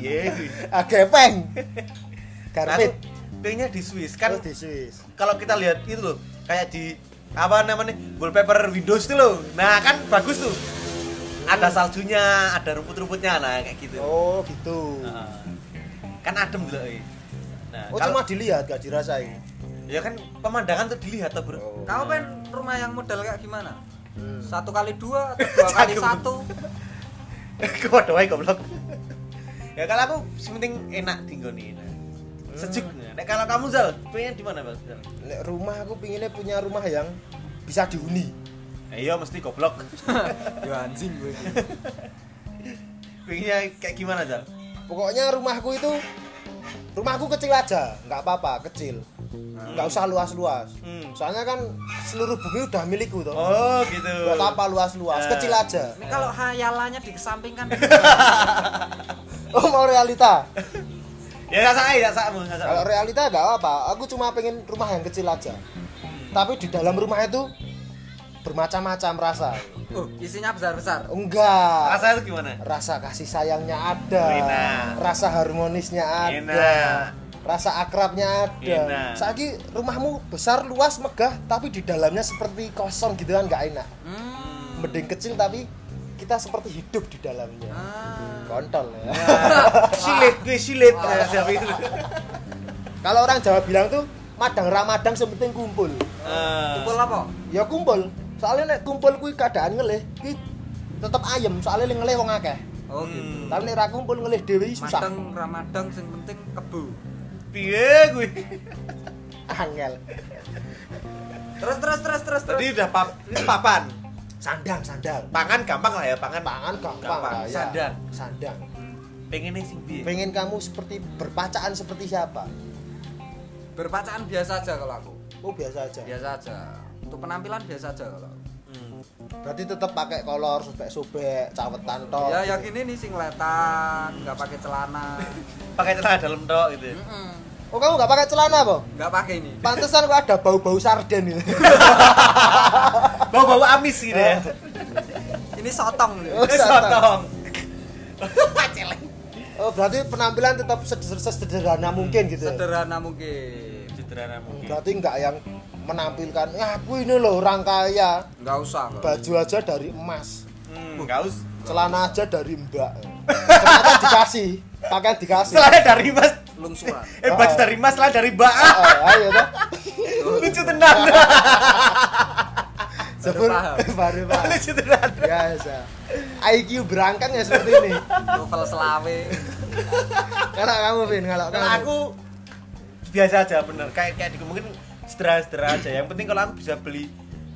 Speaker 2: Yeay. [laughs]
Speaker 3: agepeng
Speaker 2: Nah,
Speaker 3: Ah, garpit
Speaker 2: aku pengennya di Swiss
Speaker 3: kan
Speaker 2: kan
Speaker 3: oh, di Swiss
Speaker 2: kalau kita lihat itu loh kayak di apa namanya wallpaper Windows tuh loh nah kan bagus tuh ada saljunya ada rumput-rumputnya nah kayak gitu
Speaker 3: oh gitu
Speaker 2: Heeh. kan adem gitu eh. nah
Speaker 3: oh
Speaker 2: kalau-
Speaker 3: cuma dilihat gak dirasain
Speaker 2: ya kan pemandangan tuh dilihat tuh bro
Speaker 3: Oh.
Speaker 2: [laughs]
Speaker 1: Kamu pengen rumah yang model kayak gimana?
Speaker 2: Hmm.
Speaker 1: Satu kali [laughs] dua atau dua kali
Speaker 2: Cakep.
Speaker 1: satu?
Speaker 2: kau doain eh, goblok ya kalau aku sementing enak tinggal nih enak
Speaker 3: Hmm.
Speaker 2: sejuk nah kalau kamu Zal pengen di mana bang Zal
Speaker 3: Nek rumah aku pinginnya punya rumah yang bisa dihuni
Speaker 2: Eh, iya mesti goblok [laughs]
Speaker 1: ya anjing gue. ini.
Speaker 2: pengennya kayak gimana Zal
Speaker 3: pokoknya rumahku itu rumahku kecil aja nggak apa-apa kecil nggak usah luas-luas
Speaker 2: Hmm.
Speaker 3: soalnya kan seluruh bumi udah milikku tuh
Speaker 2: oh gitu
Speaker 3: buat apa luas-luas
Speaker 2: Eh.
Speaker 3: kecil aja
Speaker 1: Ini kalau hayalannya [laughs] dikesampingkan
Speaker 3: oh mau realita
Speaker 2: ya gak salah gak salah gak salah
Speaker 3: Kalau realita gak apa, aku cuma pengen rumah yang kecil aja. Tapi di dalam rumah itu bermacam-macam rasa.
Speaker 1: Oh, isinya besar-besar.
Speaker 3: Enggak.
Speaker 2: rasanya
Speaker 3: Rasa,
Speaker 2: tuh gimana
Speaker 3: kasih sayangnya ada.
Speaker 2: Enak.
Speaker 3: Rasa harmonisnya ada.
Speaker 2: Enak.
Speaker 3: Rasa akrabnya ada.
Speaker 2: Enak.
Speaker 3: Saiki rumahmu besar, luas, megah, tapi di dalamnya seperti kosong gitu kan nggak enak.
Speaker 1: Hmm.
Speaker 3: Mending kecil tapi kita seperti hidup di dalamnya.
Speaker 1: Ah.
Speaker 3: Kontol ya.
Speaker 2: [laughs] silit gue silit Nah, siapa itu
Speaker 3: Kalau orang Jawa bilang tuh madang ramadang sementing kumpul.
Speaker 2: Eh,
Speaker 1: Kumpul apa?
Speaker 3: ya kumpul soalnya nek kumpul kuwi keadaan ngelih kuwi tetep ayem soalnya lek ngelih wong akeh
Speaker 1: Oh gitu.
Speaker 3: tapi nek ra kumpul ngelih dhewe susah
Speaker 1: Mateng Ramadan sing penting kebu.
Speaker 2: piye gue
Speaker 3: angel
Speaker 1: Terus terus terus terus terus.
Speaker 2: tadi udah pap ini papan
Speaker 3: sandang sandang
Speaker 2: pangan gampang lah ya pangan
Speaker 3: pangan gampang
Speaker 2: Gampang.
Speaker 3: lah ya.
Speaker 2: Sandang. Iya.
Speaker 3: sandang
Speaker 2: pengen nih sing piye
Speaker 3: pengen kamu seperti berpacaan seperti siapa
Speaker 1: Berpacaan biasa aja kalau aku.
Speaker 3: oh biasa aja
Speaker 1: Biasa aja. Untuk penampilan biasa aja kalau. aku.
Speaker 2: Hmm.
Speaker 3: berarti tetep pakai kolor sobek sobek cawetan tok
Speaker 1: Ya yang ini nih singletan, nggak pakai celana.
Speaker 2: pakai celana dalam tok gitu
Speaker 1: Mm-mm.
Speaker 3: oh kamu nggak pakai celana po
Speaker 1: Nggak pakai ini.
Speaker 3: pantesan kok ada bau bau sarden itu
Speaker 2: bau bau amis gitu [laughs] ya
Speaker 1: Ini sotong nih.
Speaker 3: Oh,
Speaker 2: sotong [laughs]
Speaker 3: oh berarti penampilan tetap seder- sesederhana mungkin gitu
Speaker 1: Sederhana mungkin.
Speaker 2: sederhana mungkin
Speaker 3: berarti nggak yang menampilkan ya aku ini loh orang kaya
Speaker 1: Nggak usah. Kalau.
Speaker 3: baju aja dari emas
Speaker 2: hmm, gaus
Speaker 3: celana aja dari mbak celana dikasih pakaian dikasih
Speaker 2: Celana dari Mas.
Speaker 1: Lungsuran.
Speaker 2: Eh baju dari Mas, celana dari Mbak. Ah,
Speaker 3: oh, ayo toh
Speaker 2: Lucu tenang.
Speaker 3: sebelum
Speaker 1: paham.
Speaker 3: [laughs] baru
Speaker 2: [laughs]
Speaker 3: paham Ya,
Speaker 2: Lucu tenang.
Speaker 3: biasa IQ berangkat ya seperti ini
Speaker 1: Novel Selawe.
Speaker 3: kalau kamu Vin kalau
Speaker 2: Kalau
Speaker 3: kamu
Speaker 2: aku biasa aja bener kayak kayak di- mungkin sederhana-sederhana aja. Yang penting kalau aku bisa beli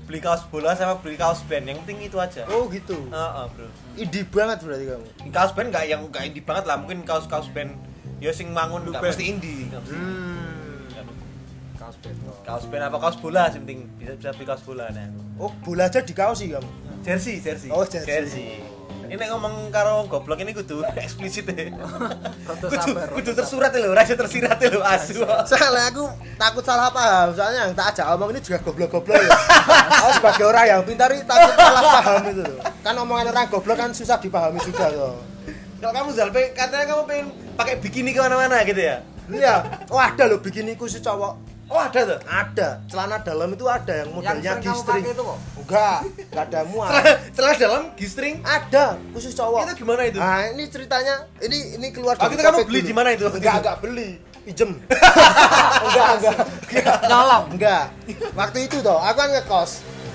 Speaker 2: beli kaos bola sama beli kaos band. Yang penting itu aja. Heeh,
Speaker 3: oh gitu
Speaker 2: bro.
Speaker 3: ide banget berarti kamu
Speaker 2: Kaos band nggak yang nggak indie banget lah. Mungkin kaos-kaos band yo sing mangun nggak
Speaker 4: band.
Speaker 2: mesti indie. Nggak mesti.
Speaker 1: Hmm. Kaos beto.
Speaker 2: Kaos band apa kaos bola sih penting bisa bisa beli kaos bola nah.
Speaker 3: oh bola aja dikasih kamu
Speaker 2: Jersey, jersey.
Speaker 3: Oh, jersey.
Speaker 2: Ini nek ngomong karo goblok ini kudu [laughs] eksplisit ya.
Speaker 1: Kudu
Speaker 2: kudu,
Speaker 1: sabar.
Speaker 2: kudu tersurat ya lho, rasa tersirat ya lho asu.
Speaker 3: soalnya aku takut salah paham soalnya yang tak ajak omong ini juga goblok-goblok ya aku sebagai orang yang pintar ini takut salah paham itu loh kan omongan orang goblok kan susah dipahami juga loh
Speaker 2: Kalau kamu Zalpe, katanya kamu pengen pakai bikini kemana-mana gitu ya?
Speaker 3: iya oh ada loh bikiniku si cowok
Speaker 2: Oh ada tuh.
Speaker 3: ada celana dalam itu ada
Speaker 1: Yang
Speaker 3: yang modelnya
Speaker 1: sering kamu
Speaker 3: gistring
Speaker 1: pakai itu kok.
Speaker 3: enggak enggak ada muat
Speaker 2: Celana, celana dalam gistring.
Speaker 3: ada khusus cowok
Speaker 2: Itu gimana itu?
Speaker 3: nah ini ceritanya ini ini keluar
Speaker 2: Waktu itu kamu beli di mana itu waktu
Speaker 3: enggak
Speaker 2: itu?
Speaker 3: enggak beli
Speaker 2: [laughs]
Speaker 3: pinjem enggak enggak enggak
Speaker 1: Nyolong.
Speaker 3: enggak waktu itu toh aku kan ngekos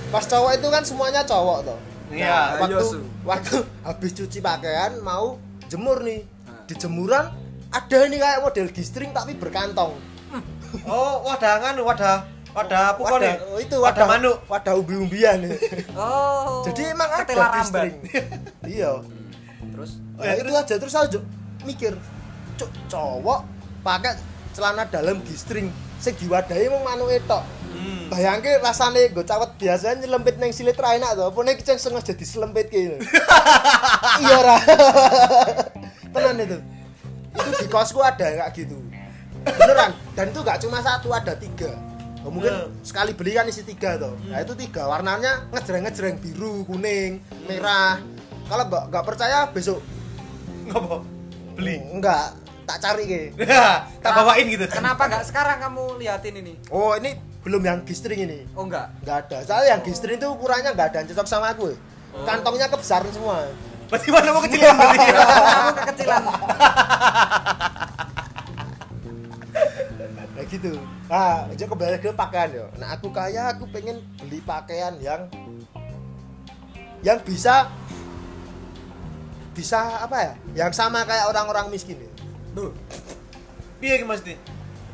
Speaker 3: pas cowok itu kan semuanya cowok toh Nah,
Speaker 2: Iya.
Speaker 1: ayo,
Speaker 3: waktu
Speaker 1: Su.
Speaker 3: waktu habis cuci pakaian mau jemur nih
Speaker 2: Nah.
Speaker 3: di jemuran ada ini kayak model gistring tapi berkantong
Speaker 2: Oh, wadah kan wadah wadah pukul
Speaker 3: wadah oh,
Speaker 2: ya?
Speaker 3: itu wadah
Speaker 2: manuk.
Speaker 3: wadah
Speaker 2: [laughs]
Speaker 3: umbi-umbian
Speaker 1: Oh.
Speaker 3: jadi emang ada
Speaker 1: ketela rambat.
Speaker 3: gistring iya
Speaker 1: Terus
Speaker 2: Oh,
Speaker 3: Nah,
Speaker 2: ya,
Speaker 3: itu aja terus aku ju- mikir, cuk cowok pakai celana dalam gistring sing diwadahi emang manuke tok.
Speaker 2: Hmm.
Speaker 3: Bayangke rasane nggo cawet biasanya nyelempit nang silit ra enak to, apane kiceng sengaja
Speaker 2: [laughs]
Speaker 3: diselempit ki. iya ra. [laughs] Tenan itu. Itu di kosku ada yang kayak gitu. Beneran. Dan itu gak cuma satu, ada tiga. Oh, mungkin
Speaker 2: Hmm.
Speaker 3: sekali beli kan isi tiga toh. Nah itu tiga warnanya ngejreng-ngejreng biru, kuning, merah. Kalau nggak nggak percaya besok
Speaker 2: Ngopo? Beli.
Speaker 3: Enggak, tak cari ke.
Speaker 2: tak bawain gitu.
Speaker 1: kenapa nggak sekarang kamu liatin ini?
Speaker 3: Oh, ini belum yang gistring ini.
Speaker 1: Oh enggak. [laughs]
Speaker 3: Enggak ada. Soalnya yang gistring itu ukurannya enggak ada yang cocok sama aku. Kantongnya kebesaran semua.
Speaker 2: Berarti mana mau kecil
Speaker 3: [laughs]
Speaker 2: berarti ya?
Speaker 1: kamu kekecilan.
Speaker 3: Nah gitu. Ah, aja kembali ke pakaian yo. Nah, aku kaya aku pengen beli pakaian yang yang bisa bisa apa ya? Yang sama kayak orang-orang miskin ya.
Speaker 1: Duh,
Speaker 2: Piye ki mesti?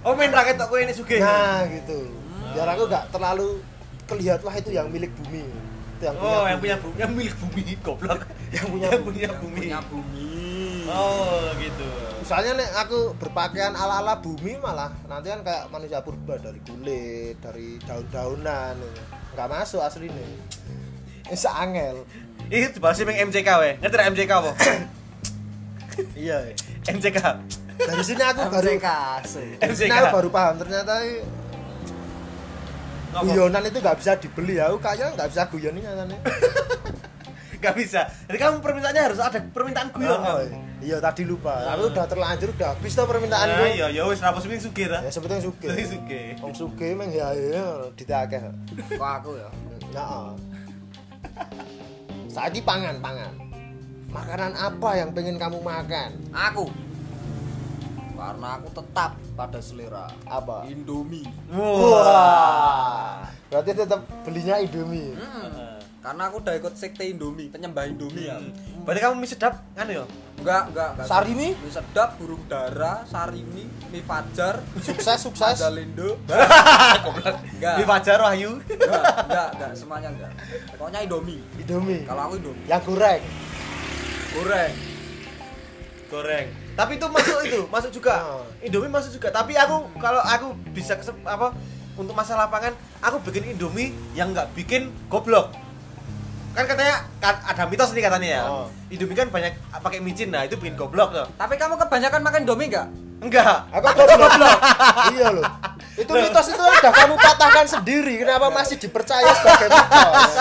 Speaker 2: Oh main raket tok kowe ini sugih.
Speaker 3: Nah, gitu. Biar aku enggak terlalu kelihatan wah itu yang milik bumi. Itu yang
Speaker 2: Oh, yang
Speaker 3: bumi.
Speaker 2: punya bumi, yang milik bumi goblok.
Speaker 3: Yang punya bumi.
Speaker 2: punya bumi.
Speaker 1: punya bumi.
Speaker 2: Oh, gitu.
Speaker 3: Misalnya nek aku berpakaian ala-ala bumi malah nanti kan kayak manusia purba dari kulit, dari daun-daunan. Enggak masuk aslinya. Ini angel.
Speaker 2: Ini dibahasnya yang MCK weh. Ngerti ra MCK
Speaker 3: [coughs]
Speaker 2: apa?
Speaker 3: Iya.
Speaker 2: MCK.
Speaker 3: Dari sini aku baru
Speaker 1: MCK asik.
Speaker 3: dari sini
Speaker 2: MCK.
Speaker 3: aku baru paham ternyata i-
Speaker 2: Ngopo?
Speaker 3: guyonan itu nggak bisa dibeli ya. Aku Kayaknya nggak bisa guyon ini nyatanya.
Speaker 2: Gak bisa. Jadi kamu permintaannya harus ada permintaan guyon.
Speaker 3: Oh,
Speaker 2: kamu.
Speaker 3: iya tadi lupa. Aku udah terlanjur udah habis tuh permintaan
Speaker 2: Nah,
Speaker 3: gue.
Speaker 2: iya, ya wis rapo sing sugih ra.
Speaker 3: Ya sebetulnya suge.
Speaker 2: Sing sugih.
Speaker 3: Wong suge emang ya ya ditakeh.
Speaker 1: Kok aku ya?
Speaker 3: Nah, saat ini pangan, pangan. Makanan apa yang pengen kamu makan?
Speaker 1: Aku. Karena aku tetap pada selera.
Speaker 3: Apa?
Speaker 1: Indomie.
Speaker 3: Wah. Berarti tetap belinya Indomie.
Speaker 1: Hmm. Karena aku udah ikut sekte Indomie, penyembah Indomie ya.
Speaker 2: Berarti kamu mie sedap kan ya?
Speaker 1: Enggak, enggak, enggak.
Speaker 3: Sarimi?
Speaker 1: Mie sedap, burung dara, sarimi, mie fajar,
Speaker 3: Sukses, sukses.
Speaker 1: Mandalindo. Enggak.
Speaker 2: Di Fajar Wahyu.
Speaker 1: Enggak, enggak, enggak, semuanya enggak. Pokoknya Indomie.
Speaker 3: Indomie.
Speaker 1: Kalau aku Indomie
Speaker 3: Yang goreng.
Speaker 1: goreng.
Speaker 2: Goreng. Tapi itu masuk itu, masuk juga.
Speaker 3: Oh.
Speaker 2: Indomie masuk juga. Tapi aku kalau aku bisa kesep, apa untuk masalah pangan, aku bikin Indomie yang nggak bikin goblok. Kan katanya kan ada mitos nih katanya ya.
Speaker 3: Oh.
Speaker 2: Indomie kan banyak pakai micin. Nah, itu bikin goblok tuh.
Speaker 1: Tapi kamu kebanyakan makan Indomie enggak?
Speaker 2: Enggak.
Speaker 3: Aku goblok. iya loh. Itu mitos itu udah kamu patahkan sendiri. Kenapa masih dipercaya sebagai mitos?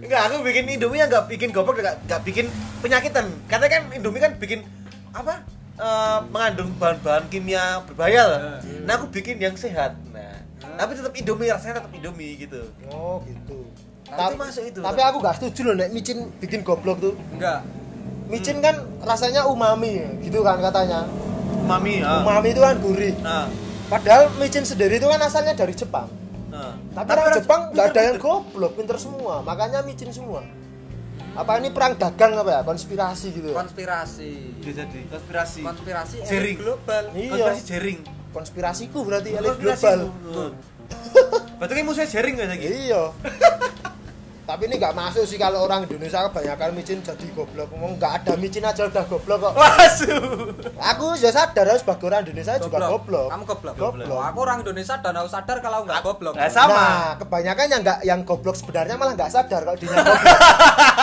Speaker 2: Enggak, aku bikin Indomie yang nggak bikin goblok, nggak nggak bikin penyakitan. Katanya kan Indomie kan bikin apa? eh, mengandung bahan-bahan kimia berbahaya lah. Nah, Eh. aku bikin yang sehat. Nah, tapi tetap Indomie rasanya tetap Indomie gitu.
Speaker 3: Oh gitu.
Speaker 1: Nanti
Speaker 3: Tapi-
Speaker 1: masuk itu.
Speaker 3: Tapi aku gak setuju loh nek micin bikin goblok tuh.
Speaker 1: Enggak.
Speaker 3: Micin kan rasanya umami ya, gitu kan katanya.
Speaker 2: Mami, ah.
Speaker 3: Umami itu kan gurih.
Speaker 2: Nah,
Speaker 3: Padahal micin sendiri itu kan asalnya dari Jepang.
Speaker 2: nah.
Speaker 3: Tapi orang Jepang nggak ada
Speaker 2: [laughs]
Speaker 3: yang goblok, pinter semua. Makanya micin semua. Apa ini perang dagang apa ya? Konspirasi gitu ya?
Speaker 1: Konspirasi.
Speaker 2: Bisa jadi konspirasi.
Speaker 1: Konspirasi elit
Speaker 2: Jaring.
Speaker 1: global.
Speaker 3: Iya.
Speaker 2: Konspirasi jaring.
Speaker 3: Konspirasiku berarti elit
Speaker 2: Konspirasi
Speaker 3: global.
Speaker 2: itu. Berarti kan musuhnya jaring kan lagi.
Speaker 3: Iya. Tapi ini nggak masuk sih kalau orang Indonesia kebanyakan micin jadi goblok. Ngomong nggak ada micin aja udah goblok kok.
Speaker 2: Wasu.
Speaker 3: Aku ya sadar harus sebagai orang Indonesia Eh, juga goblok.
Speaker 1: Kamu goblok.
Speaker 3: Goblok.
Speaker 1: Loh, Aku orang Indonesia dan aku sadar kalau nggak goblok.
Speaker 2: Nah, sama.
Speaker 3: Nah, kebanyakan yang nggak yang goblok sebenarnya malah nggak sadar kalau dia goblok.